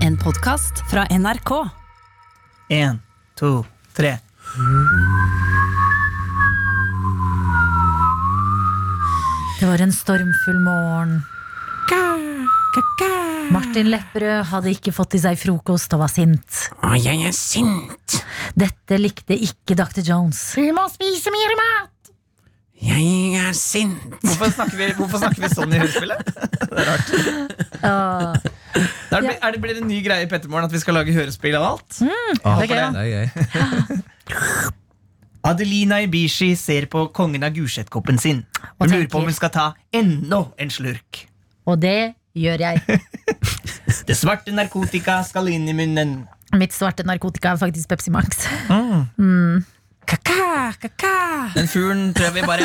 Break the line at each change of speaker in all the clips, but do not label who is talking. En podkast fra NRK.
Én, to, tre.
Det var en stormfull morgen. Martin Lepperød hadde ikke fått i seg frokost og var sint.
Å, jeg er sint.
Dette likte ikke Dr. Jones.
Jeg er sint.
Hvorfor snakker vi, hvorfor snakker vi sånn i hørespillet?
Ah,
Da Er det, er det, blir det en ny greie i Pettermorgen at vi skal lage hørespill av alt?
Ah,
det er gøy, ja.
det er gøy.
Adelina Ibishi ser på kongen av Gulset-koppen sin.
Og
Hun lurer på
tenker-
om hun skal ta enda en slurk.
og det gjør jeg.
Det svarte narkotika skal inn i munnen.
Mitt svarte narkotika er faktisk Pepsi Max.
Den fuglen tror jeg vi bare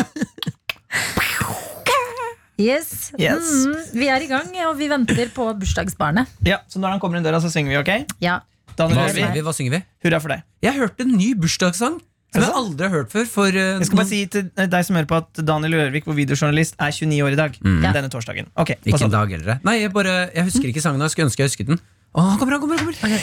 Yes.
Yes.
Mm, vi er i gang, og vi venter på bursdagsbarnet.
Ja, Så når han kommer inn døra, så synger vi, ok?
Ja.
Daniel
Hva
Ørvi,
synger vi? Hva synger vi?
hurra for deg.
Jeg hørte en ny bursdagssang som jeg aldri har hørt før. For, eh,
Jeg skal bare si
noen-
til deg som hører på at Daniel Ørvik, vår videojournalist, er 29 år i dag. Denne torsdagen. Ok, pass
Ikke en
opp.
dag eldre. Nei, jeg, bare, jeg husker ikke sangen. og Jeg skulle ønske jeg husket den. Å, han kommer, han kommer, han kommer.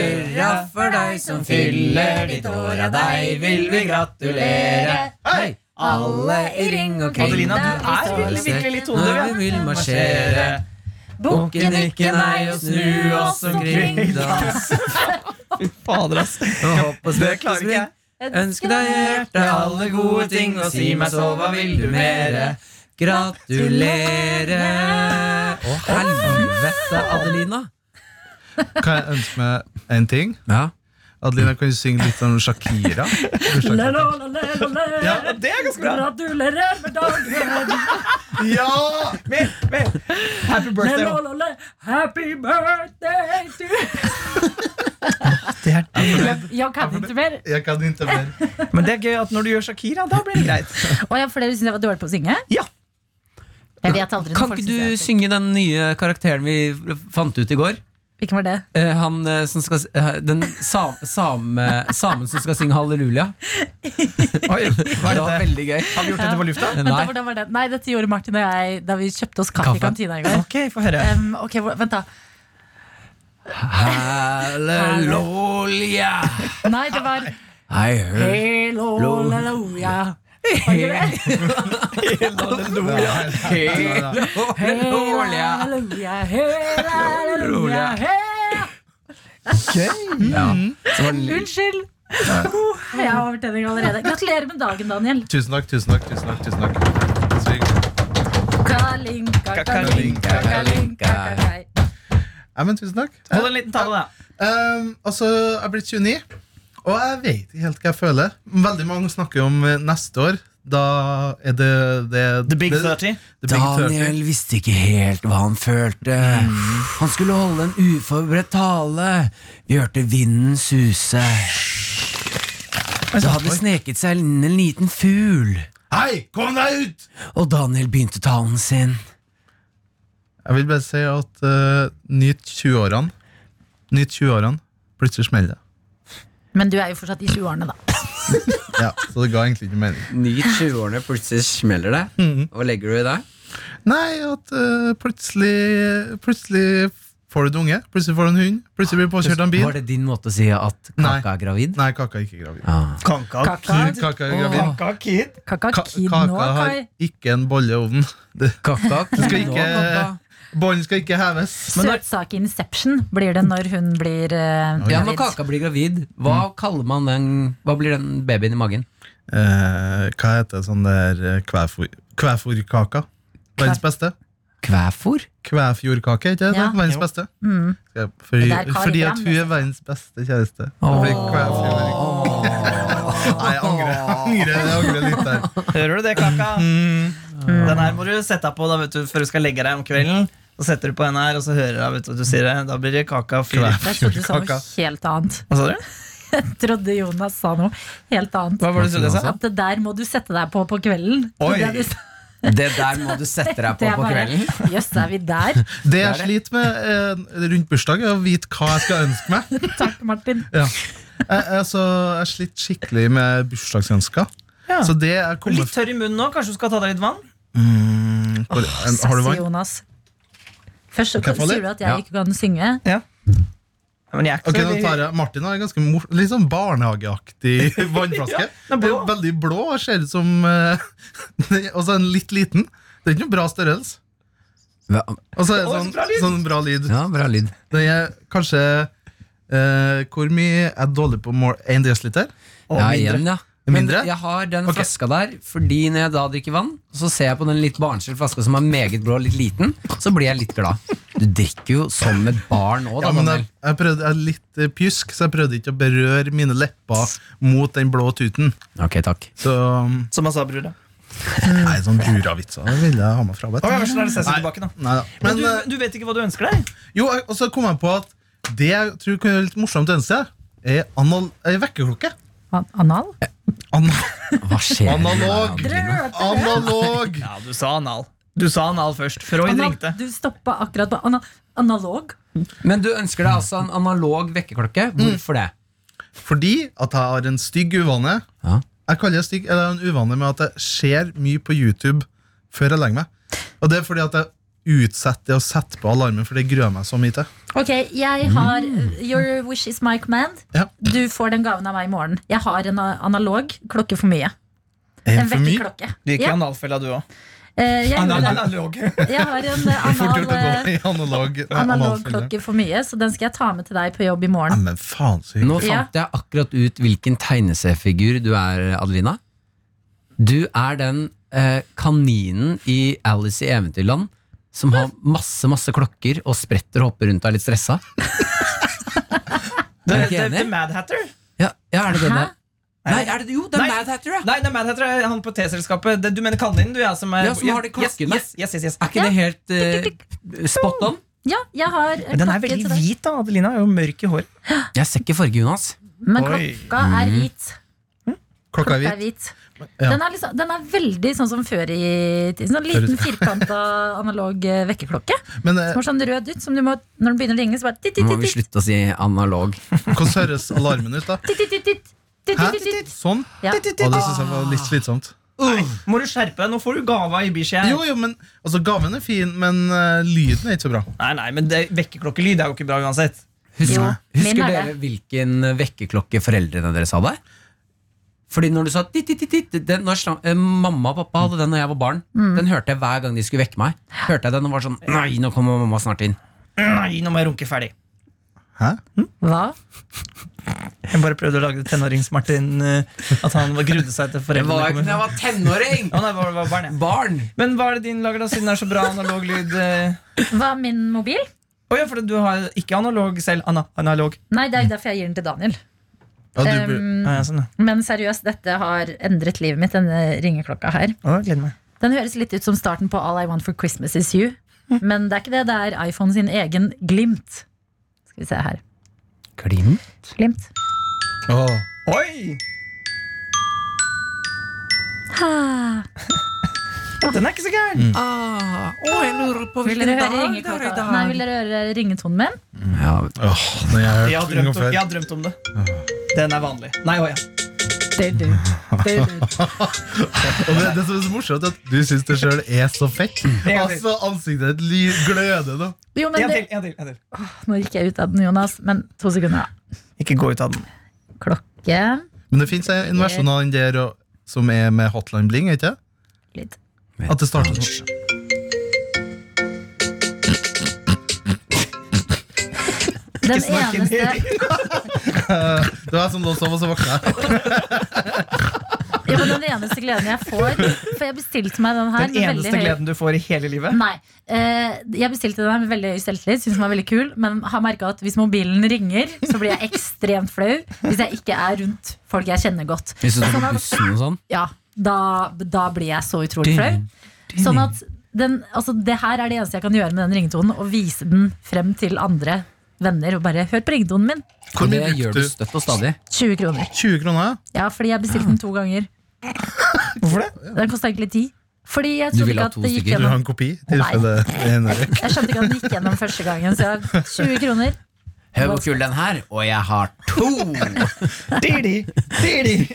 Hurra for deg som fyller ditt år, av deg vil vi gratulere. Hei! Alle i ring og kring.
Adelina, du
Der
er
vi
virkelig,
står og ser
virkelig tonedøv, ja.
Når vi vil marsjere. Bukke, nikke, nei og snu oss omkring. Dans
Fy Fader, ass.
og hopp og
Det
spøk og
klarer ikke
spring.
jeg.
Ønske deg i hjertet alle gode ting, og si meg så, hva vil du mere? Gratulere! Å, helvete, Adelina!
Kan jeg ønske meg en ting?
Ja.
Adelina, kan du synge litt om Shakira? Bursdagssangen.
Ja, det er ganske bra.
Gratulerer med dagen!
Ja! Mer, mer. Happy birthday.
Happy birthday to
Det er
Jeg kan ikke mer.
Jeg kan ikke mer.
Men det er gøy at når du gjør Shakira, da blir det greit.
Og jeg, for dere syns jeg var dårlig på å synge?
Ja.
Jeg vet aldri når
Kan
folk synes jeg
ikke du
er flink.
synge den nye karakteren vi fant ut i går?
Hvilken var det?
Eh, han eh, som skal s- eh, Den sam, same, samen som skal synge halleluja.
Oi, hva
Det
er
var
dette?
veldig gøy. Eh,
Har vi gjort dette på lufta?
Vent, da,
Nei.
hvordan var det? Nei, dette gjorde Martin og jeg da vi kjøpte oss kaffe, i
Kaffe.
kantina i går.
Ok, få høre.
Em, ok, hvor- vent da
Halleluja!
Nei, det var
I heard
Hello, halleluja
Halleluja!
Halleluja, halleluja, halleluja.
Ja.
Mm.
Så var den
Unnskyld Oh, Jeg har overtenning allerede Gratulerer med dagen, Daniel
Tusen takk, tusen takk, tusen takk. Tusen takk. Sving.
Kalinka, kalinka, kalinka, kalinka.
Ja, men tusen takk.
Hold en liten tale, da.
Um, altså, jeg er blitt 29, og jeg vet ikke helt hva jeg føler. Veldig mange snakker om eh, neste år. Da er det, det
The Big
det-
30.
The Big 30.
Daniel visste ikke helt hva han følte.
Mm.
Han skulle holde en uforberedt tale. Vi hørte vinden suse. Det hadde sneket seg inn en liten fugl,
Hei, kom deg ut!
og Daniel begynte talen sin.
Jeg vil bare si at eh, nyt 20-årene. Nyt 20-årene. Plutselig smeller det.
Men du er jo fortsatt i 20-årene da
Ja, så det ga egentlig ikke mening.
Ny 20-årene, plutselig smeller det.
Mm.
Hva legger du i det?
Nei, at eh, plutselig Plutselig får du et unge. Plutselig får du en hund. Plutselig blir du påkjørt av en bil.
Var det din måte å si at
Nei.
kaka er gravid?
Nei, kaka er ikke gravid.
Ah.
Kanka.
Kaka,
Kaka er gravid.
Kanka kid.
kaka,
Ka
kino,
kaka har
kai
ikke en bolle i ovnen. Det-
Kaka,
skal
kino,
ikke-
kaka.
Bollen skal ikke heves.
Søtsak Inception blir det når hun blir eh,
Ja, Når
gravid.
kaka blir gravid, hva
Mm.
kaller man den Hva blir den babyen i magen?
Eh, hva heter sånn der eh, kvæfor, kvæforkaka? Verdens beste?
Kvæfor?
Kvæfjordkake, ikke det?
Ja.
Verdens beste?
Mm.
Ja, Fordi,
Det der Kari
fordi at
Brem,
hun
det
er verdens beste kjæreste.
Åh.
Fordi kvæfjord- Nei, jeg angrer, jeg angrer, jeg angrer litt der.
Hører du det, Kaka? Mm. Den her må du sette deg på da, vet du, før du skal legge deg om kvelden. Så setter du på den her, og så hører du, vet du, du sier det. Da blir det Kaka fyr.
Kvæf.
Jeg trodde du sa noe
Kaka.
helt annet
Hva sa du?
Jeg trodde Jonas sa noe helt annet
Hva var det du trodde jeg sa?
At det der må du sette deg på på kvelden
Oi.
Det er det du sa.
Det der må du sette deg på
Det er
på
bare,
kvelden.
Jøss, er vi der?
Det jeg sliter med eh, rundt bursdag, er å vite hva jeg skal ønske meg.
Takk, Martin.
Ja. Jeg, jeg, så, jeg sliter skikkelig med bursdagsønsker.
Ja.
Så det er kommet
Litt tørr i munnen nå. Kanskje du skal ta deg litt vann?
Hvor- en- Har du
Sassy
vann?
Jonas. Først så
Kan jeg få
sier
litt?
du at
Ja.
jeg ikke kan synge.
Ja. Men jeg er ikke
Ok,
så
nå tar jeg Martin har en ganske mor litt sånn barnehageaktig vannflaske.
den er blå.
Veldig blå og ser ut som eh, Og så en litt liten. Det er ikke noen bra størrelse.
Hva?
Og så er
Å, så
det sånn,
bra lyd!
sånn bra lyd.
Ja, bra lyd.
Det er kanskje eh, Hvor mye er dårlig på mål? 1 dl?
Og
Ja,
mindre.
igjen, ja. Men
Mindre?
jeg har den
Ok.
flaska der fordi når jeg da drikker vann, så ser jeg på den litt barnslige flaska som er meget blå og litt liten, så blir jeg litt glad. Du drikker jo som et barn òg, da.
Ja, men
Daniel.
jeg, jeg, prøvde, jeg er litt eh, pjusk, så jeg prøvde ikke å berøre mine lepper mot den blå tuten.
Ok, takk.
Så um,
Som jeg sa, bror. da.
Nei, sånn buravitser det vil jeg ha meg frabedt.
Å, ja, men sånn er det seg som
Nei.
tilbake, da.
Nei da.
Men,
Men, eh,
du, du vet ikke hva du ønsker deg?
jo, jeg- og så kom jeg på at det jeg tror kunne være litt morsomt å ønske seg, er anal eh, vekkerklokke.
An anal?
An
Hva skjer?
Analog.
med deg, Adelina?
analog!
Ja, du sa anal. Du sa anal først. Freud
Anal,
ringte.
du stoppa akkurat på ana analog.
Men du ønsker deg altså en analog vekkerklokke. Hvorfor det?
Fordi at jeg har en stygg uvane.
Ja.
Jeg kaller det stygg, eller en uvane med at jeg ser mye på YouTube før jeg legger meg. Og det er fordi at jeg utsetter det å sette på alarmen, for det gruer jeg meg så mye til.
Ok, jeg har Your wish is my command.
Ja.
Du får den gaven av meg i morgen. Jeg har en a- analog klokke for mye.
En
En
for mye?
vekkerklokke.
Du gikk i
Ja,
analfella, du òg.
eh, jeg, gjorde det.
Analog.
jeg har en eh,
Fort gjort å
anal,
gå i analog, nei,
analog
analfelle.
klokke for mye, så den skal jeg ta med til deg på jobb i
Nei,
morgen.
men faen så hyggelig.
Nå fant jeg akkurat ut hvilken tegneseriefigur du er, Adelina. Du er den eh, kaninen i Alice i Eventyrland som har masse masse klokker og spretter og hopper rundt og er litt stressa.
Det
Er du
det- det
ikke enig?
er Mad Hatter.
Ja, ja er det den
Hæ?
der? Nei, er det, jo, det
Nei.
er Mad Hatter, ja.
Nei, det er Mad Hatter er han på T-selskapet. Det- Du mener kaninen, du? Ja, som er,
Ja, som har de klokkene.
Yes, yes, yes, yes,
Er ikke det helt eh, spot on?
Ja, jeg har eh,
Men den er
klokke til
veldig
deg.
hvit, da. Adelina er jo mørk i håret.
Jeg ser ikke fargen hans.
Men
Oi.
klokka er hvit.
Klokka er
Det
hvit.
er hvit.
Ja.
Den, er liksom, den er veldig sånn som før i tiden. Sånn liten firkanta analog eh, vekkerklokke.
Men eh,
Som har sånn rød ut, som du må, når den begynner å ringe, så bare titt, titt,
Nå må vi
titt, titt,
slutte å si analog.
hvordan høres alarmen ut, da?
titt, titt, titt, titt, titt,
Hæ?
titt, titt, titt.
Sånn?
Ja.
Å, det syns jeg var litt slitsomt.
Må du skjerpe deg? Nå får du gava i biskjea.
Jo, jo, men altså, Gaven er fin, men eh, lyden er ikke så bra.
Nei, nei, men det, vekkerklokkelyd er jo ikke bra uansett.
Husker,
Jo, min
husker
er
dere hvilken vekkerklokke foreldrene deres hadde? Fordi når du sa titt, titt, titt, titt, den, når sla- eh, Mamma og pappa hadde den da jeg var barn. Den hørte jeg hver gang de skulle vekke meg. Hørte jeg den og var sånn Nei, nå kommer mamma snart inn.
Nei, nå må jeg runke ferdig.
Hæ?
Hva?
Jeg bare prøvde å lage tenårings-Martin. eh, At han var- grudde seg til
Det var
foreldrene
ikke da
kom.
jeg var tenåring!
Å, nei, var, var barn, ja.
Barn!
Men hva er det din lager, da, siden det er så bra analog lyd? eh?
Hva er min mobil?
Å ja, for du har ikke analog selv. Ana, analog.
Nei, det er jo derfor jeg gir den til Daniel.
Ja, du, bur-
Um,
Ja, ja, sånn, ja.
men seriøst, dette har endret livet mitt, denne ringeklokka her.
Å, jeg gleder meg.
Den høres litt ut som starten på All I Want for Christmas Is You. Men det er ikke det, det er iPhone sin egen glimt. Skal vi se her.
Klim?
Glimt.
Åh.
Oi!
Ah.
Den er ikke så gæren.
Ah, å, jeg lurer på
Vil
hvilken
dere høre
dag det er i
ringeklokka? Nei,
dag.
vil dere høre ringetonen min?
Ja,
Åh, når jeg har
Jeg har
hørt den
drømt
gang
om,
før.
jeg har drømt om det. Den er vanlig. Nei, å ja.
Og det, det som er så morsomt, er at du syns det sjøl er så fett. Altså, Ansiktet ditt ly- gløder nå.
Jo, men
En
det,
til, en til, en til.
nå gikk jeg ut av den, Jonas. Men to sekunder, da.
Ikke gå ut av den.
Klokke
Men det fins en versjon av den der og- som er med hotline bling, er ikke det?
litt.
At det starter sånn.
Den
snakk inn i
eneste,
Det sånn, var jeg som lå og sov, og så våkna jeg.
jo, men den eneste gleden jeg får For jeg bestilte meg den her
Den
med veldig
eneste
høy-
gleden du får i hele livet.
Nei. Eh, jeg bestilte den her med veldig høy selvtillit, syntes den var veldig kul, men har merka at hvis mobilen ringer, så blir jeg ekstremt flau hvis jeg ikke er rundt folk jeg kjenner godt.
Hvis du tar på bussen og sånn.
Ja, da, da blir jeg så utrolig flau. Sånn at den, altså det her er det eneste jeg kan gjøre med den ringetonen, å vise den frem til andre venner og bare 'hør på ringetonen min'.
Hvor
Det
mye
gjør du
brukte du?
støtt og stadig.
20 kroner.
20 kroner?
Ja, fordi jeg bestilte den to ganger.
Hvorfor det?
Den kosta egentlig ti. Fordi jeg
Du
trodde
ville
ikke
ha
at
to
det gikk
stykker.
Vil du ha
gjennom
en kopi? i tilfelle det er en røyk?
Jeg skjønte ikke at den gikk gjennom første gangen, så jeg 20 kroner.
Hør hvor kul den her, og jeg har to!
Didi, didi.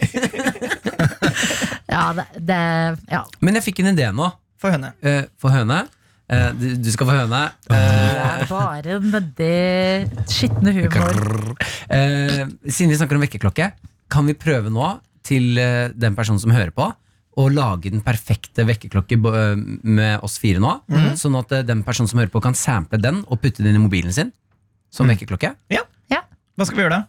Ja, det, det ja.
Men jeg fikk en idé nå.
For høne.
eh, for høne. Eh, du, du skal få høne. Eh,
Det er bare nedi skitne humor.
Eh, siden vi snakker om vekkerklokke, kan vi prøve nå til eh, den personen som hører på, å lage den perfekte vekkerklokke bo- eh, med oss fire nå? Sånn at eh, den personen som hører på, kan sample den og putte den inn i mobilen sin som vekkerklokke?
Hva skal vi gjøre da?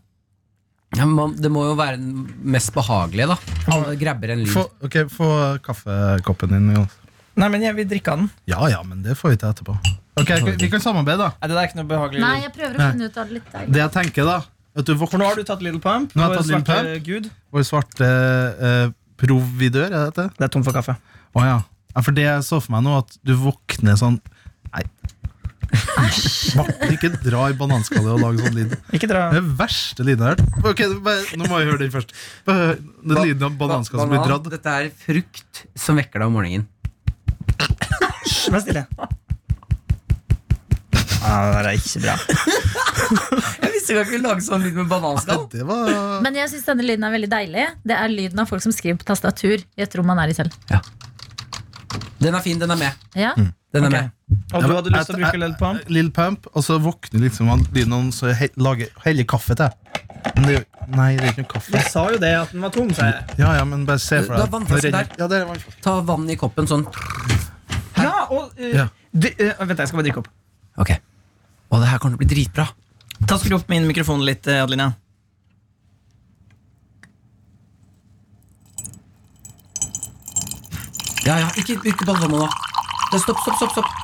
Ja, men man, det må jo være den mest behagelige, da. Alle grabber en lyd.
Få, ok, få kaffekoppen din. Jonas.
Nei, men jeg vil drikke av den.
Ja ja, men det får vi til etterpå. Ok, vi- Vi kan samarbeide, da.
Nei, det der er ikke noe behagelig
Nei,
lyd.
jeg prøver å
Nei.
finne ut av det litt. jeg.
Det jeg tenker, da at du
For nå
våkner
har du tatt Little Pump.
Nå har jeg
vår
tatt Little
svarte Gud.
vår svarte eh, providør, er det dette?
Det er tom for kaffe.
Å ja. ja. For det jeg så for meg nå, at du våkner sånn Nei. Martin, ikke dra i bananskallet og lage sånn lyd.
Ikke dra.
Det er den verste lyden jeg har hørt. Ok, bare, Nå må jeg høre den først. Bare hør Den lyden av bananskall som blir
Banan,
dratt.
Dette er frukt som vekker deg om morgenen.
Hysj, Vær stille. Nei, det der er ikke bra.
Jeg visste ikke at vi kunne lage sånn lyd med bananskall.
Det var
Men jeg syns denne lyden er veldig deilig. Det er lyden av folk som skriver på tastatur i et rom man er i selv.
Den er fin, den er med.
Ja?
Mm.
Den er
Ok.
med.
Og du hadde
Jeg-
lyst til å bruke
jeg-
Little Pump?
Lil Pump, og så våkner liksom han lyden av noen som he lager heller kaffe til. Men det, er jo- nei, det er ikke noe
Du
kaffe.
sa jo det, at den var tom, sa jeg.
Ja, ja, men bare se for
Du
deg
har vannflaske
Nå renner-
der.
Ja, det er vannflaske.
Ta vann i koppen sånn.
Ja, og eh,
Ja.
du, eh, Vent, jeg skal bare drikke opp.
Ok. Å, det her kommer til å bli dritbra.
Ta Skru opp min mikrofon litt, eh, Adelina.
Ja, ja, ikke, ikke ball nå. Det- Stopp, stopp, stopp. Stopp.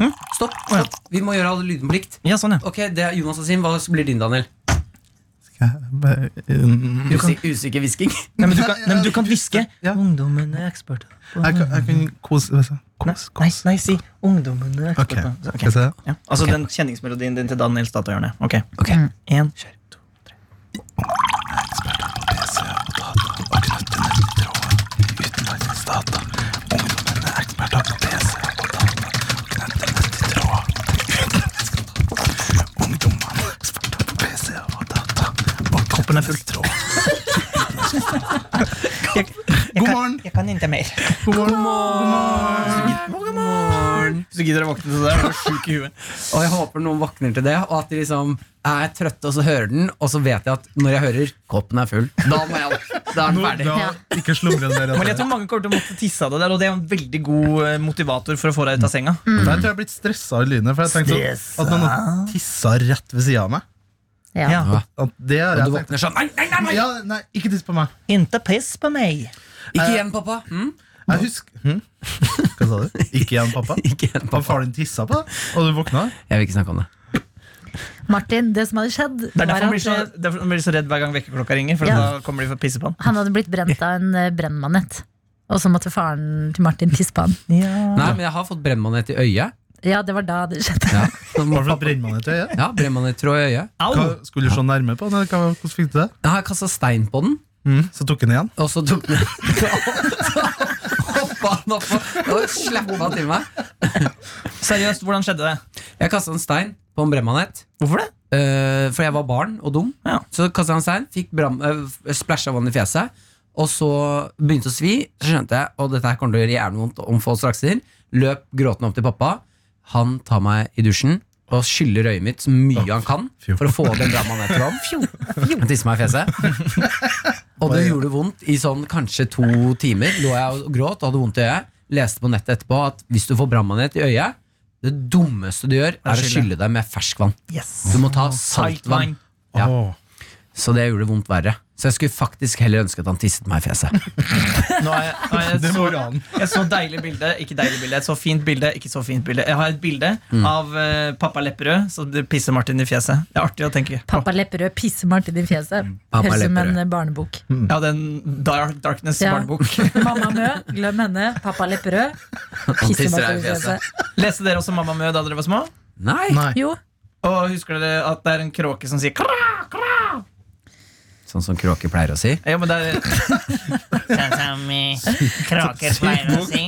Hm?
stopp,
Å, ja.
stopp. Vi må gjøre alle lydene på likt.
Ja, sånn, ja.
Ok, det er Jonas og sin. Hva blir din, Daniel?
Skal jeg bare- Mm, jeg
Usik usikker hvisking.
Nei, men du kan, nei, men du kan hviske.
Ja.
Ungdommen er ekspert.
kan- jeg kan kose meg
Nei, nei, nei, si 'Ungdommen er
Ok,
ekspert'. Så, ok.
skal jeg se
Ja. Altså den kjenningsmelodien din til Daniel Statoil-hjørnet. Ok,
Ok.
Mm.
en, kjør.
Koppen er fullt tråd. God morgen.
Jeg kan ikke mer.
God morgen. God morgen.
Hvis du gidder å våkne til det, er du sjuk i huet.
Og jeg håper noen våkner til det, og at de liksom er trøtte, og så hører den, og så vet jeg at når jeg hører 'koppen er full', da må jeg opp. Da er den
Nå,
ferdig.
da, ikke slumre mer.
Men jeg
etter det.
tror mange kommer til å måtte tisse av det der, og det er jo en veldig god eh, motivator for å få deg ut av senga.
Mm.
Men Jeg tror jeg har blitt stressa av lynet. For jeg tenkte sånn, at noen har tissa rett ved sida av meg.
Ja.
Ja.
At det har
Og
jeg
du
tenkt.
våkner sånn 'nei, nei, nei, nei!
Ja, nei, ikke tiss på meg.
Inte piss på meg.
Ikke igjen, pappa! Hm?
Jeg husker hm? Hva sa du? Ikke igjen, pappa?
Ikke igjen,
Har
pappa.
faren din tissa på deg? Og du våkna?
Jeg vil ikke snakke om det.
Martin, det som hadde skjedd,
Det er
var
derfor han blir
at
så,
eh,
derfor han blir så redd hver gang vekkerklokka ringer, for
Ja.
da kommer de for å pisse på han.
han hadde blitt brent av en eh, brennmanett. Og så måtte faren til Martin tisse på han.
Nei, men jeg har fått brennmanet i øyet.
Ja, det var da det skjedde.
Ja, Nå må
Hva for
pappa-
et brennmanet til øyet?
ja brennmanettråd i øyet.
Au!
Hva, skulle du se nærme på den? eller hva- Hvordan fikk du det?
Jeg har kasta stein på den,
Så tok han igjen?
og så tok den Hoppa han opp og- og slappa han til meg.
Seriøst, hvordan skjedde det?
Jeg kasta en stein på en brennmanet.
Hvorfor det?
Eh, for jeg var barn og dum.
Ja.
Så kasta han stein, fikk brann- eh, splæsja vann i fjeset. Og så begynte å svi. Så skjønte jeg og dette her kommer til å gjøre jævlig vondt om få strakser. Løp gråtende opp til pappa. Han tar meg i dusjen og skyller øyet mitt så mye han kan
fjo.
for å få den brannmanetroen. Han tisser meg i fjeset. Og det gjorde vondt i sånn kanskje to timer. Lå jeg og gråt og hadde vondt i øyet. Leste på nettet etterpå at hvis du får brannmanet i øyet, det dummeste du gjør, er å
skylle.
skylle deg med ferskvann.
Yes.
Du må ta saltvann. Ja.
Åh.
Så det gjorde vondt verre. Så jeg skulle faktisk heller ønske at han tisset meg i fjeset.
Nå er jeg, nå er jeg,
Det er
Eh, så,
moralen.
jeg så deilig bilde, ikke deilig bilde. Et så fint bilde, ikke så fint bilde. Jeg har et bilde
Mm.
av eh, pappa Lepperød som det pisser Martin i fjeset. Det er artig å tenke på.
Pappa Lepperød pisser Martin i fjeset.
Mm.
Pappa
Høres ut som en
Lepperød.
eh, barnebok.
Ja, den Dark, Darkness
Ja.
Mm, barnebok.
Mamma Mø, glem henne. Pappa Lepperød pisser
tisser
Martin
deg
i
i fjeset.
fjeset.
Leste dere også Mamma Mø da dere var små?
Nei!
Nei.
Jo,
Og husker dere at det er en kråke som sier kra?
Sånn som kråker pleier å si.
Ja, men det er,
Sånn som eh, kråker pleier å si.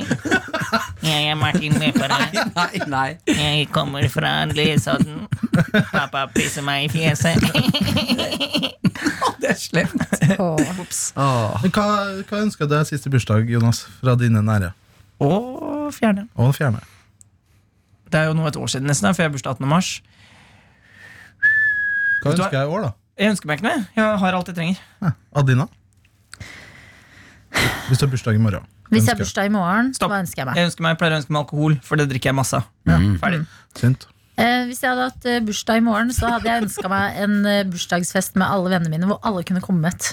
Jeg er Martin Lepperød.
Nei, nei.
Jeg kommer fra Lesodden. Pappa pisser meg i fjeset.
Det er slemt.
Åh.
Åh.
Men Hva, hva ønsker du deg siste bursdag, Jonas? Fra dine nære?
å, fjerne.
Og fjerne.
Det er jo nå et år siden nesten, for jeg har bursdag 18. mars.
Hva ønsker jeg i år, da?
Jeg ønsker meg ikke noe. Jeg har alt jeg trenger.
Ja. Adina? Hvis du har bursdag i morgen.
Hvis jeg har
ønsker
bursdag i morgen,
Stopp.
hva ønsker jeg meg?
Jeg ønsker meg, jeg pleier å ønske meg alkohol, for det drikker jeg masse av. Ferdig.
Synd.
Eh, hvis jeg hadde hatt eh, bursdag i morgen, så hadde jeg ønska meg en eh, bursdagsfest med alle vennene mine, hvor alle kunne kommet.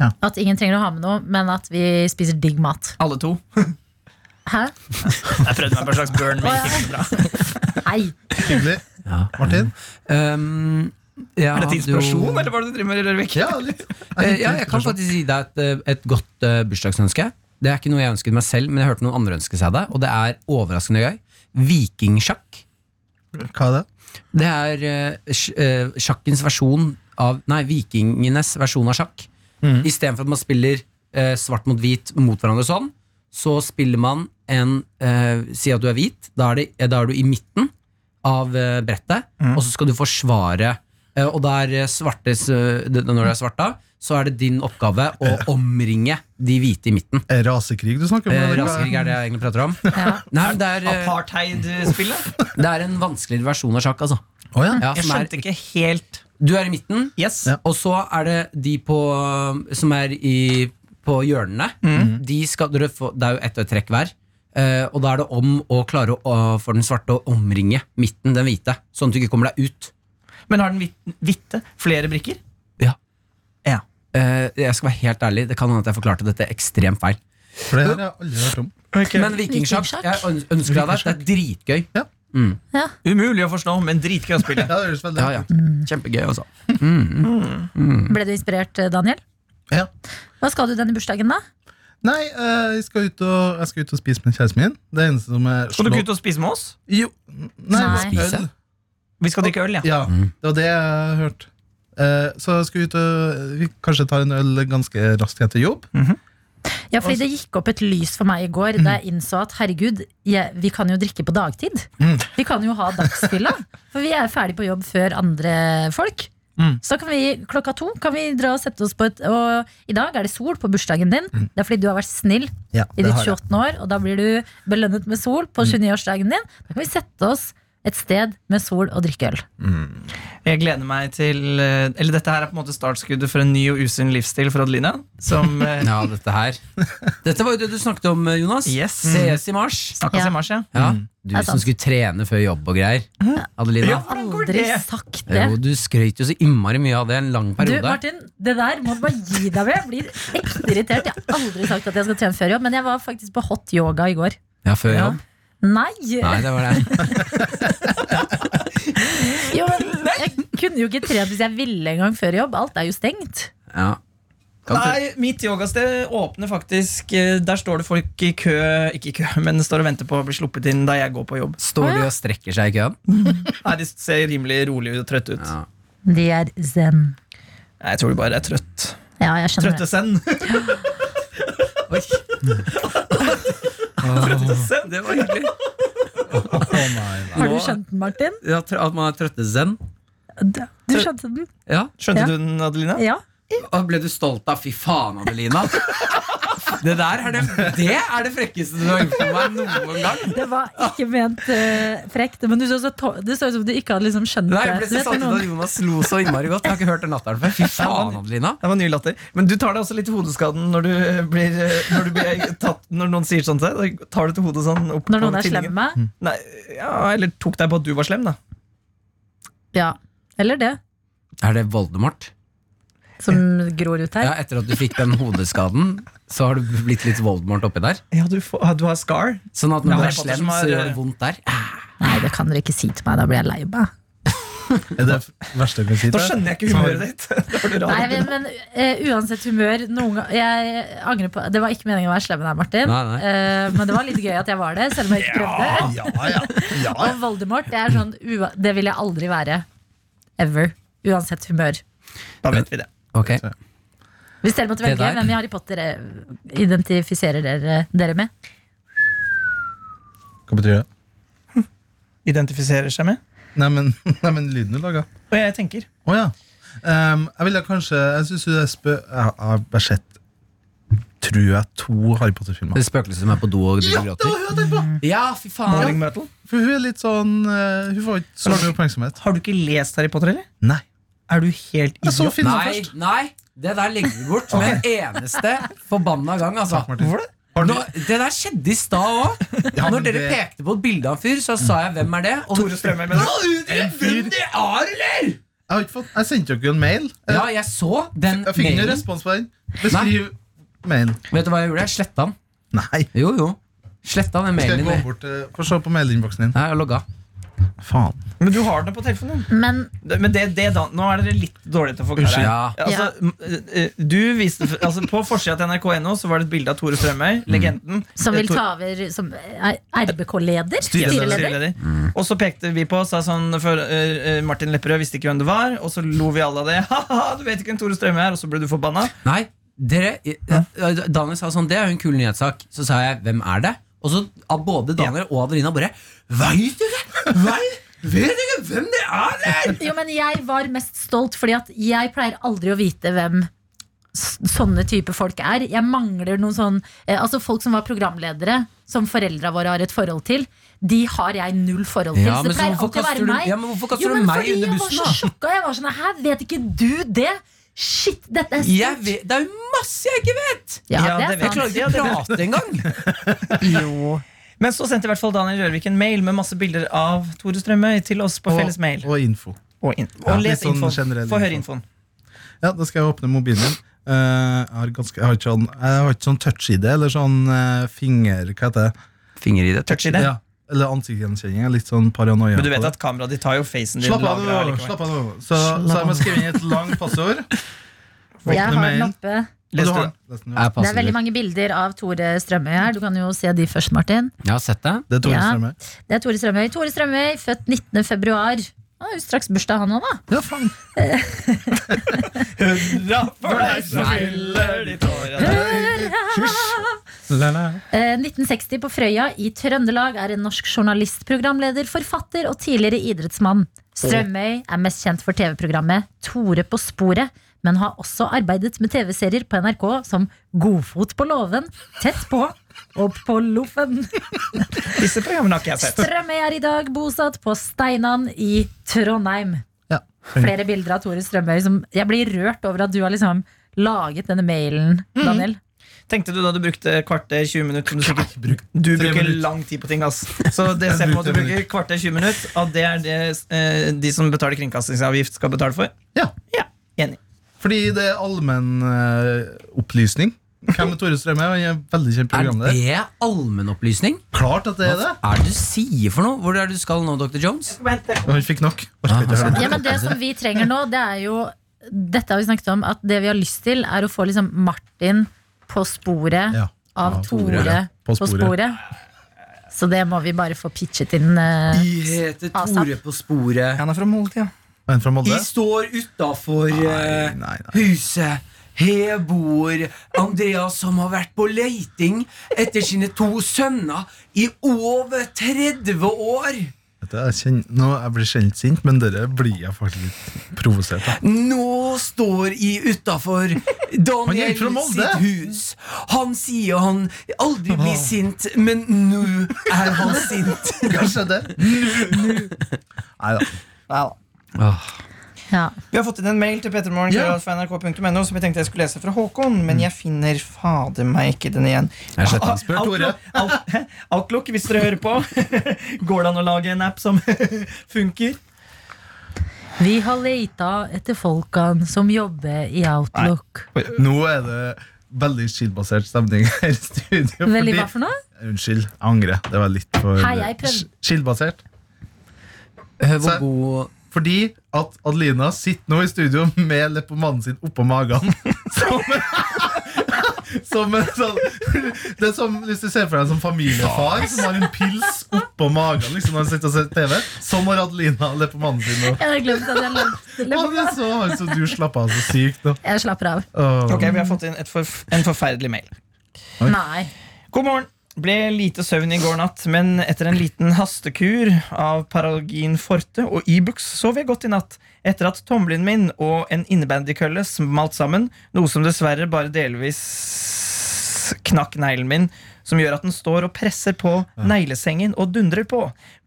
Ja.
At ingen trenger å ha med noe, men at vi spiser digg mat.
Alle to.
Hæ?
Jeg prøvde meg på en slags burn, men ikke så bra.
Hei!
Hyggelig.
Ja.
Martin?
Um, jeg
Er dette
hadde jo-
inspirasjon, eller hva er det du driver med? Rørvik?
Ja, litt.
Eh, ja, jeg kan faktisk si deg et, eh, et godt eh, bursdagsønske. Det er ikke noe jeg ønsket meg selv, men jeg hørte noen andre ønske seg det. Og det er overraskende gøy. Vikingsjakk.
Hva er det?
Det er eh, sj- eh, sjakkens versjon av Nei, vikingenes versjon av sjakk.
Mm.
Mhm.
Istedenfor at man spiller eh, svart mot hvit mot hverandre sånn, så spiller man en eh, Si at du er hvit. Da er, det, eh, da er du i midten av eh, brettet,
Mm.
og så skal du forsvare. Eh, og der eh, svartes, eh, det- når du er svart da, så er det din oppgave å omringe de hvite i midten.
Er det Rasekrig du snakker om?
Eh,
eller hva?
Raskrig er det jeg egentlig prater om.
Ja.
Nei, men det er, eh,
Apartheid-spillet?
det er en vanskeligere versjon av sjakk, altså.
Å ja.
Ja,
Jeg
som er,
skjønte ikke helt
du er i midten,
Yes.
Ja.
Og så er det de på, som er i, på hjørnene. De skal, dere få, det er jo ett og ett trekk hver. Eh, og da er det om å klare å, å- for den svarte å omringe midten, den hvite. Sånn at du ikke kommer deg ut.
Men har den hvit- hvitte flere brikker?
Eh, jeg skal være helt ærlig, Det kan hende at jeg forklarte dette ekstremt feil.
For det her har jeg aldri hørt om.
Men vikingsjakk,
Vikingsjakk?
jeg øns- ønsker deg det. Det er dritgøy.
Umulig å forstå, men dritgøy å spille.
Ja, det høres veldig
Ja, ja. Kjempegøy, altså.
Ble du inspirert, eh, Daniel?
Ja.
Hva skal du denne bursdagen, da?
Nei, eh, jeg skal, ut og, jeg skal ut og spise med kjæresten min. Det eneste som er
Skal du ikke ut og spise med oss?
Jo. Nei,
Nei.
Spise?
øl.
Vi skal drikke øl, ja.
Ja, det var det jeg hørte. Eh, så jeg skal ut og vi kanskje tar en øl ganske raskt etter jobb.
Ja, fordi Det gikk opp et lys for meg i
Mm.
går da jeg innså at herregud, jeg, vi kan jo drikke på dagtid.
Mm.
Vi kan jo ha dagsfylla, for vi er ferdig på jobb før andre folk.
Mm.
Så kan vi klokka to kan vi dra og sette oss på et Og i dag er det sol på bursdagen din. Det er fordi du har vært snill
Mm. Ja,
i
det
ditt
har jeg. Mm.
28. år, og da blir du belønnet med sol på 29-årsdagen din. Da kan vi sette oss et sted med sol og drikke øl.
Jeg gleder meg til eh, Eller dette her er på en måte startskuddet for en ny og usunn livsstil for Adelina. Som eh,
Ja, dette her. Dette var jo det du snakket om, eh, Jonas.
Yes.
Sees i mars.
snakkes
Ja.
i mars, ja.
Ja. Du
Det er
som
sant.
skulle trene før jobb og greier. Adelina.
Jeg har aldri
det?
sagt det.
Jo, du skrøt jo så innmari mye av det en lang
Du,
periode.
Martin, det der må du bare gi deg med. Jeg blir ekte irritert. Jeg har aldri sagt at jeg skal trene før jobb, men jeg var faktisk på hot yoga i går.
Ja, før jobb?
Nei!
Nei, det var det.
Jo, men jeg kunne jo ikke trent hvis jeg ville en gang før jobb. Alt er jo stengt.
Ja. Kan du-
Nei, mitt yogasted åpner faktisk eh, Der står det folk i kø Ikke i kø, men står og venter på å bli sluppet inn da jeg går på jobb.
Står de og strekker seg i køen?
Nei, De ser rimelig rolig og trøtte ut.
Ja.
De er zen.
Nei, Jeg tror de bare er trøtt.
Ja, jeg skjønner
Trøtte
det.
send.
Oi.
Trøtte send.
Det var hyggelig.
Har du skjønt den, Martin?
Ja, tr- at man er trøttezen?
Du skjønte den?
Ja.
Skjønte
Ja.
du den, Adelina?
Ja.
Og ble du stolt av 'fy faen, Adelina'? Det der er det, det er det frekkeste du har gjort for meg noen gang.
Det var ikke ment eh, frekt, men du så, så to- det så ut som du ikke hadde liksom skjønt
Nei, jeg
det.
ble
Du
så
vet
satt ut
noen-
at Jonas lo så innmari godt. Jeg har ikke hørt den latteren før. Fy faen, Adelina.
Det var ny latter. Men du tar deg også litt i hodeskaden når du eh, blir, eh, når du blir tatt Når noen sier sånn til deg. Da tar du til hodet sånn opp
Når noen
over
er slem
tinningen.
med meg.
Nei, ja, Eller tok deg på at du var slem, da.
Ja. Eller det,
Er det Voldemort?
som gror ut her.
Ja, Etter at du fikk den hodeskaden, så har du blitt litt Voldemort oppi der?
Ja, du, får, ah, du har scar.
Sånn at når
Ja,
du er
Harry Potter
slem,
som har-
så
eh,
gjør det vondt der?
Nei, det kan dere ikke si til meg. Da blir jeg lei meg.
Er det verste jeg kan si
Da
til
skjønner jeg ikke humøret ditt. Det var det rare.
Nei, men, men eh, uansett humør noen gang, Jeg angrer på Det var ikke meningen å være slem med deg, Martin.
Nei, nei.
Eh, men det var litt gøy at jeg var det, selv om jeg ikke prøvde.
Ja, ja, ja, ja.
Og Voldemort, det, er sånn, ua det vil jeg aldri være. Ever. Uansett humør.
Da vet vi det.
Ok.
Hvis dere måtte
Det
velge
der-
hvem i Harry Potter eh, identifiserer dere, dere med?
Hva betyr det?
Identifiserer seg med.
Nei, men, nei, men lyden du laga.
Og jeg tenker.
Å ja. Ehm, jeg ville kanskje Jeg syns du er spø... Jeg har bare sett tror jeg, to Harry Potter-filmer.
Det spøkelset som er på do og
Ja,
driver
det
og
var
gråter?
hun jeg tenkte på!
Mm.
Ja, fy
Ah.
faen!
Metal.
For hun er litt sånn eh, Hun får ikke så mye oppmerksomhet.
Har du ikke lest Harry Potter, eller?
Nei.
Er du helt
Jeg så
idiot?
filmen
Nei,
først.
nei, det der legger vi bort med en eneste forbanna gang, altså.
Takk, Martin.
Hvorfor det?
Har du,
Nå, det der skjedde i stad òg.
Ja,
Når
men
dere
det-
pekte på et bilde av en fyr, så sa jeg 'hvem er det?' Og
Tore Strømøy, mener du?
En fyr det er, eller?!
jeg, har ikke fått, jeg sendte dere jo en mail.
Ja, jeg så den
Jeg fikk ingen
mailen.
respons på den. Beskriv mailen.
Vet du hva jeg gjorde? Jeg sletta den.
Nei.
Jo, jo. Sletta den
Skal
mailen
jeg gå
din.
bort eh, Få se på mailinnboksen din.
Nei, jeg logga.
Faen.
Men du har den på telefonen.
Men
Det- Men det, det da, nå er dere litt dårlige til å forklare.
Unnskyld. Ja.
Altså, m- eh, du viste, altså, på forsida til nrk.no så var det et bilde av Tore Strømøy, legenden.
som
Eh,
vil
Tor-
ta over som eh, er
Styreleder.
RBK-leder? Styreleder?
Styreleder. Og så pekte vi på sa sånn, for, eh, eh, Martin Lepperød visste ikke hvem det var, og så lo vi alle av det. Haha, du vet ikke hvem Tore Strømme er, og så ble du forbanna.
Nei, dere ja, Daniel sa sånn, det er jo en kul nyhetssak Så sa jeg, hvem er det? Og så av både Daniel og Adelina bare Vet du det? Vet, vet du ikke hvem det er der?
Jo, men jeg var mest stolt fordi at jeg pleier aldri å vite hvem s- sånne type folk er. Jeg mangler noen sånn eh, Altså folk som var programledere, som foreldra våre har et forhold til. De har jeg null forhold til.
Ja,
så
men
det
så
pleier
hvorfor
alltid å
kaster
være
du-
meg.
ja, men hvorfor kaster
jo,
du
men
meg
fordi
under
jeg
bussen,
var så sjokka. Jeg var sånn Hæ, vet ikke du det? Shit, dette er
Jeg
stort.
vet, det er jo masse jeg ikke vet
Ja,
Ja, det
det er
vet
Jeg
sant.
klarer ikke å prate engang
Men så sendte i hvert fall Daniel Rørvik en mail med masse bilder av Tore Strømøy til oss på felles mail.
Og, og info.
Og, in
Ja,
og les
litt sånn
infoen.
generell
Få høre
info.
infoen.
Ja, da skal jeg åpne mobilen min. Eh, jeg, har ganske, jeg, har ikke sånn, jeg har ikke sånn touch-ID, eller sånn eh, finger... Hva heter det?
Finger i det
Touch i det.
Ja, eller ansiktsgjenkjenning. jeg er Litt sånn paranoia.
Men du
på
vet
det.
at kameraet ditt tar jo facen din.
Slapp av
lagret
nå!
allikevel.
slapp av nå Så, så jeg må skrive inn et langt passord.
Jeg har den oppe.
Leste du
Leste
den?
den?
Jeg,
Det er veldig mange bilder av Tore Strømøy her. Du kan jo se de først, Martin.
jeg har sett det
Det er Tore
Ja.
Strømøy.
Det er Tore Strømøy. Tore Strømøy, født 19. februar. Han har jo straks bursdag, han òg, da.
Ja, faen.
Hurra for deg som fyller ditt år!
Eh, 1960 på Frøya i Trøndelag er en norsk journalist, programleder, forfatter og tidligere idrettsmann. Strømøy er mest kjent for TV-programmet Tore på sporet, men har også arbeidet med TV-serier på NRK som Godfot på låven, Tett på og På loffen.
Disse programmene har ikke jeg sett.
Strømøy er i dag bosatt på Steinan i Trondheim.
Ja.
Flere bilder av Tore Strømøy som Jeg blir rørt over at du har liksom laget denne mailen, Daniel.
Tenkte du da du brukte kvarter 20 minutter som du, sikkert, du
tre
bruker
minutter.
lang tid på ting, ass. Så det ser på at du bruker kvarter 20 minutter, og det er det eh, de som betaler kringkastingsavgift, skal betale for.
Ja.
Ja, enig.
Fordi det er allmenn eh, opplysning. Hvem er Tore Strømøy? Han er veldig
Er
kjent programleder.
det allmennopplysning?
Klart at det er det!
Hva er det du sier for noe? Hvor er det du skal nå, Dr. Jones?
Han fikk nok. Orker ikke høre det.
Ah, altså. Ja, men det som vi trenger nå, det er jo Dette har vi snakket om, at det vi har lyst til, er å få liksom Martin på sporet
Ja.
av
Ja,
Tore, på,
På
sporet.
sporet.
Så det må vi bare få pitchet inn. eh.
De heter
Tore
på sporet
Han er fra Molde, ja.
En fra Molde?
De står utafor eh,
Nei, nei, nei.
huset. Her bor Andreas, som har vært på leiting etter sine to sønner i over 30 år.
Vet du, Jeg, kjenner, nå, jeg blir sjelden sint, men dere blir jeg faktisk litt provosert av.
Nå står jeg utafor
Han er
Daniel
ikke fra Molde.
sitt hus. Han sier han aldri blir sint, men nå er han sint.
Kanskje det? Nei da.
Ja.
Vi har fått inn en mail til petermorgen
Ja. Mm.
fra nrk.no som jeg tenkte jeg skulle lese fra Håkon, men jeg finner fader meg ikke den igjen.
Jeg sletter den.
Spør Tore.
Outlook, Out- Outlook, hvis dere hører på. Går det an å lage en app som funker?
Vi har leita etter folkene som jobber i Outlook.
Oi, Nå er det veldig skillbasert stemning her i studio.
Veldig
fordi-
hva for noe?
Unnskyld, jeg angrer. Det var litt for
Hei, jeg prøvde-
skillbasert. hvor
god
Fordi at Adelina sitter nå i studio med leppomannen sin oppå magen. Som, som en sånn Det er som hvis du ser for deg en sånn familiefar som har en pils oppå magen liksom, når han sitter og ser TV. Sånn har Adelina leppomannen sin nå.
Jeg hadde glemt at jeg
Ja,
lagde
det er så, altså, du slapper av så sykt nå.
Jeg slapper av.
Åh.
Ok, Vi har fått inn et forf en forferdelig mail.
Oi.
Nei.
God morgen. Ble lite søvn i går natt, men etter en liten hastekur av Paralgin Forte og Ibux sov jeg godt i natt. Etter at tommelen min og en innebandykølle smalt sammen, noe som dessverre bare delvis knakk neglen min, som gjør at den står og presser på neglesengen og dundrer på.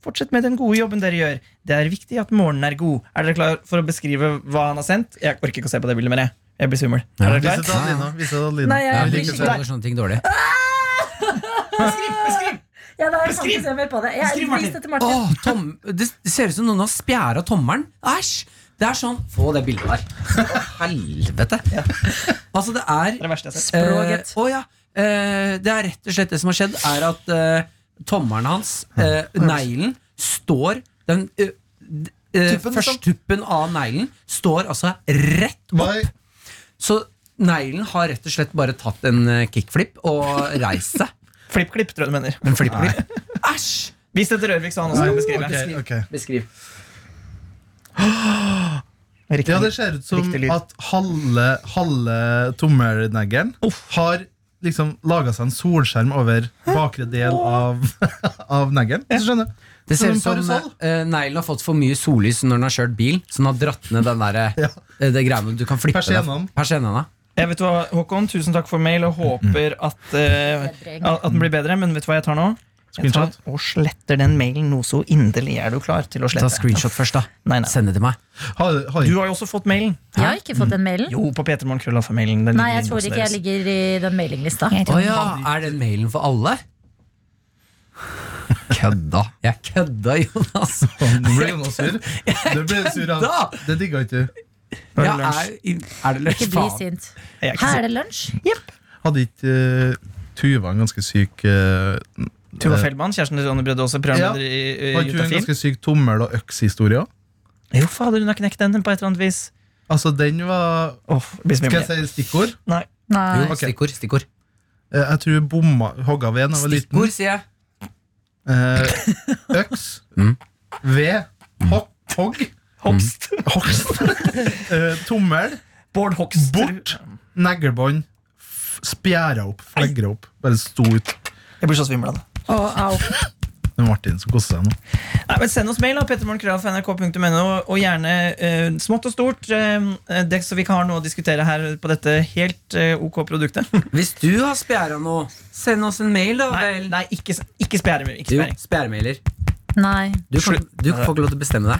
Fortsett med den gode jobben dere gjør. Det er viktig at morgenen er god. Er dere klar for å beskrive hva han har sendt? Jeg orker ikke å se på det bildet mer, jeg. Jeg blir svimmel. Er dere
Vis det
klar?
til Adelina. Vis det til Adelina.
Nei, jeg
Jeg
blir
liker
skikkelig-
sånne- sånne ting dårlig.
Ja, nei, jeg kan
Beskriv!
ikke se mer på det. Jeg
Beskriv, Martin.
vis det til Martin.
Åh, tom, det det ser ut som noen har spjæra tommelen. Æsj! Det er sånn Få det bildet der. Å, helvete. Altså, det
Det er
er
det verste jeg har sett.
Språket.
Eh, å ja. Eh, det er rett og slett det som har skjedd, er at eh, tommelen hans, eh, neglen, står Den eh, d- eh,
Tuppen, liksom.
førsttuppen av neglen står altså rett opp.
Nei,
Så neglen har rett og slett bare tatt en eh, kickflip og reist seg.
Flipp-klipp, tror jeg du mener.
En flipp-flipp. Æsj!
Vis det til Rørvik, så han også kan beskrive.
ok, ok.
Beskriv.
Riktig.
Ja, det ser ut som
Riktig lyd.
at halve, halve tommelneggeren har liksom laga seg en solskjerm over bakre del av, av neggeren. Hvis du skjønner?
Det ser ut som
Som en
uh,
parasoll.
neglen har fått for mye sollys når den har kjørt bil. Så den har dratt ned den der,
Ja.
eh, det greiene du kan flippe
Persiennene.
deg- Persiennene.
Jeg vet hva, Håkon, tusen takk for mail, og håper
Mm.
at, eh,
Bedring.
at den blir bedre. Men vet du hva jeg tar nå? Jeg tar
Screenshot.
og sletter den mailen noe så inderlig. Er du klar til å
Ta
slette?
screenshot først, da.
Nei, nei.
Send det til meg.
Har, har,
Du har jo også fått mailen.
Jeg har ikke fått den mailen.
Jo, på petermorgenkrøllaffe-mailen. Den ligger i
Nei, jeg tror
innboksen
ikke
deres.
jeg ligger i den mailinglista.
Å ja, er den mailen for alle? Kødda. Jeg kødda, Jonas.
Nå ble Jonas sånn sur. Du ble sur av
kødda!
Det digga ikke du.
Nå er det
Ja,
lunsj.
er, er det
Ikke
lunsj?
bli
Faen.
sint.
Jeg er ikke
Her
sur.
er det lunsj.
Hadde ikke eh, Tuva en ganske syk eh,
Tuva
eh,
Feldman, kjæresten til Ronny Brødde, også programleder i, i
Hadde ikke hun en
Jutafil.
ganske syk tommel- og økshistorie? også?
Jo, fader, hun har knekt den på et eller annet vis.
Altså, den var
Åh, blir
Skal
svimmel.
jeg si stikkord?
Nei.
Nei.
Jo,
Ok.
Stikkord, stikkord.
Eh, Jeg tror hun bomma hogga ved da jeg var liten.
Stikkord, sier jeg.
Eh, øks,
Mm.
ved, hogg, hogg
Hogst.
hogst, eh, tommel,
Bård Hogst.
Bort. neglebånd, f- spjæra opp, flegra opp. Bare sto ut.
Jeg blir så svimmel av det.
Å, au.
Det er Martin som koser seg nå.
Nei, men Send oss mail, da, pettermorgenkrøll.nrk.no, og gjerne eh, smått og stort, eh, det, så vi kan ha noe å diskutere her på dette helt eh, ok produktet.
Hvis du har spjæra noe, send oss en mail, da.
nei,
vel.
nei, ikke, ikke spjære. Ikke
Jo,
spjæring.
spjæremailer.
Nei.
Du, kan- du får ikke lov til å bestemme deg.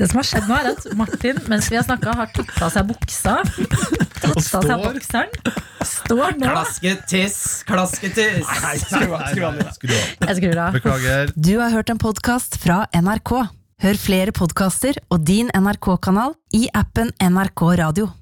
Det som har skjedd nå, er at Martin mens vi har snakka, har tatt av seg buksa. Tatt av seg
står.
bokseren. Står nå
Klasketiss, klasketiss.
Skru av.
Jeg skrur av.
Beklager.
Du har hørt en podkast fra NRK. Hør flere podkaster og din NRK-kanal i appen NRK Radio.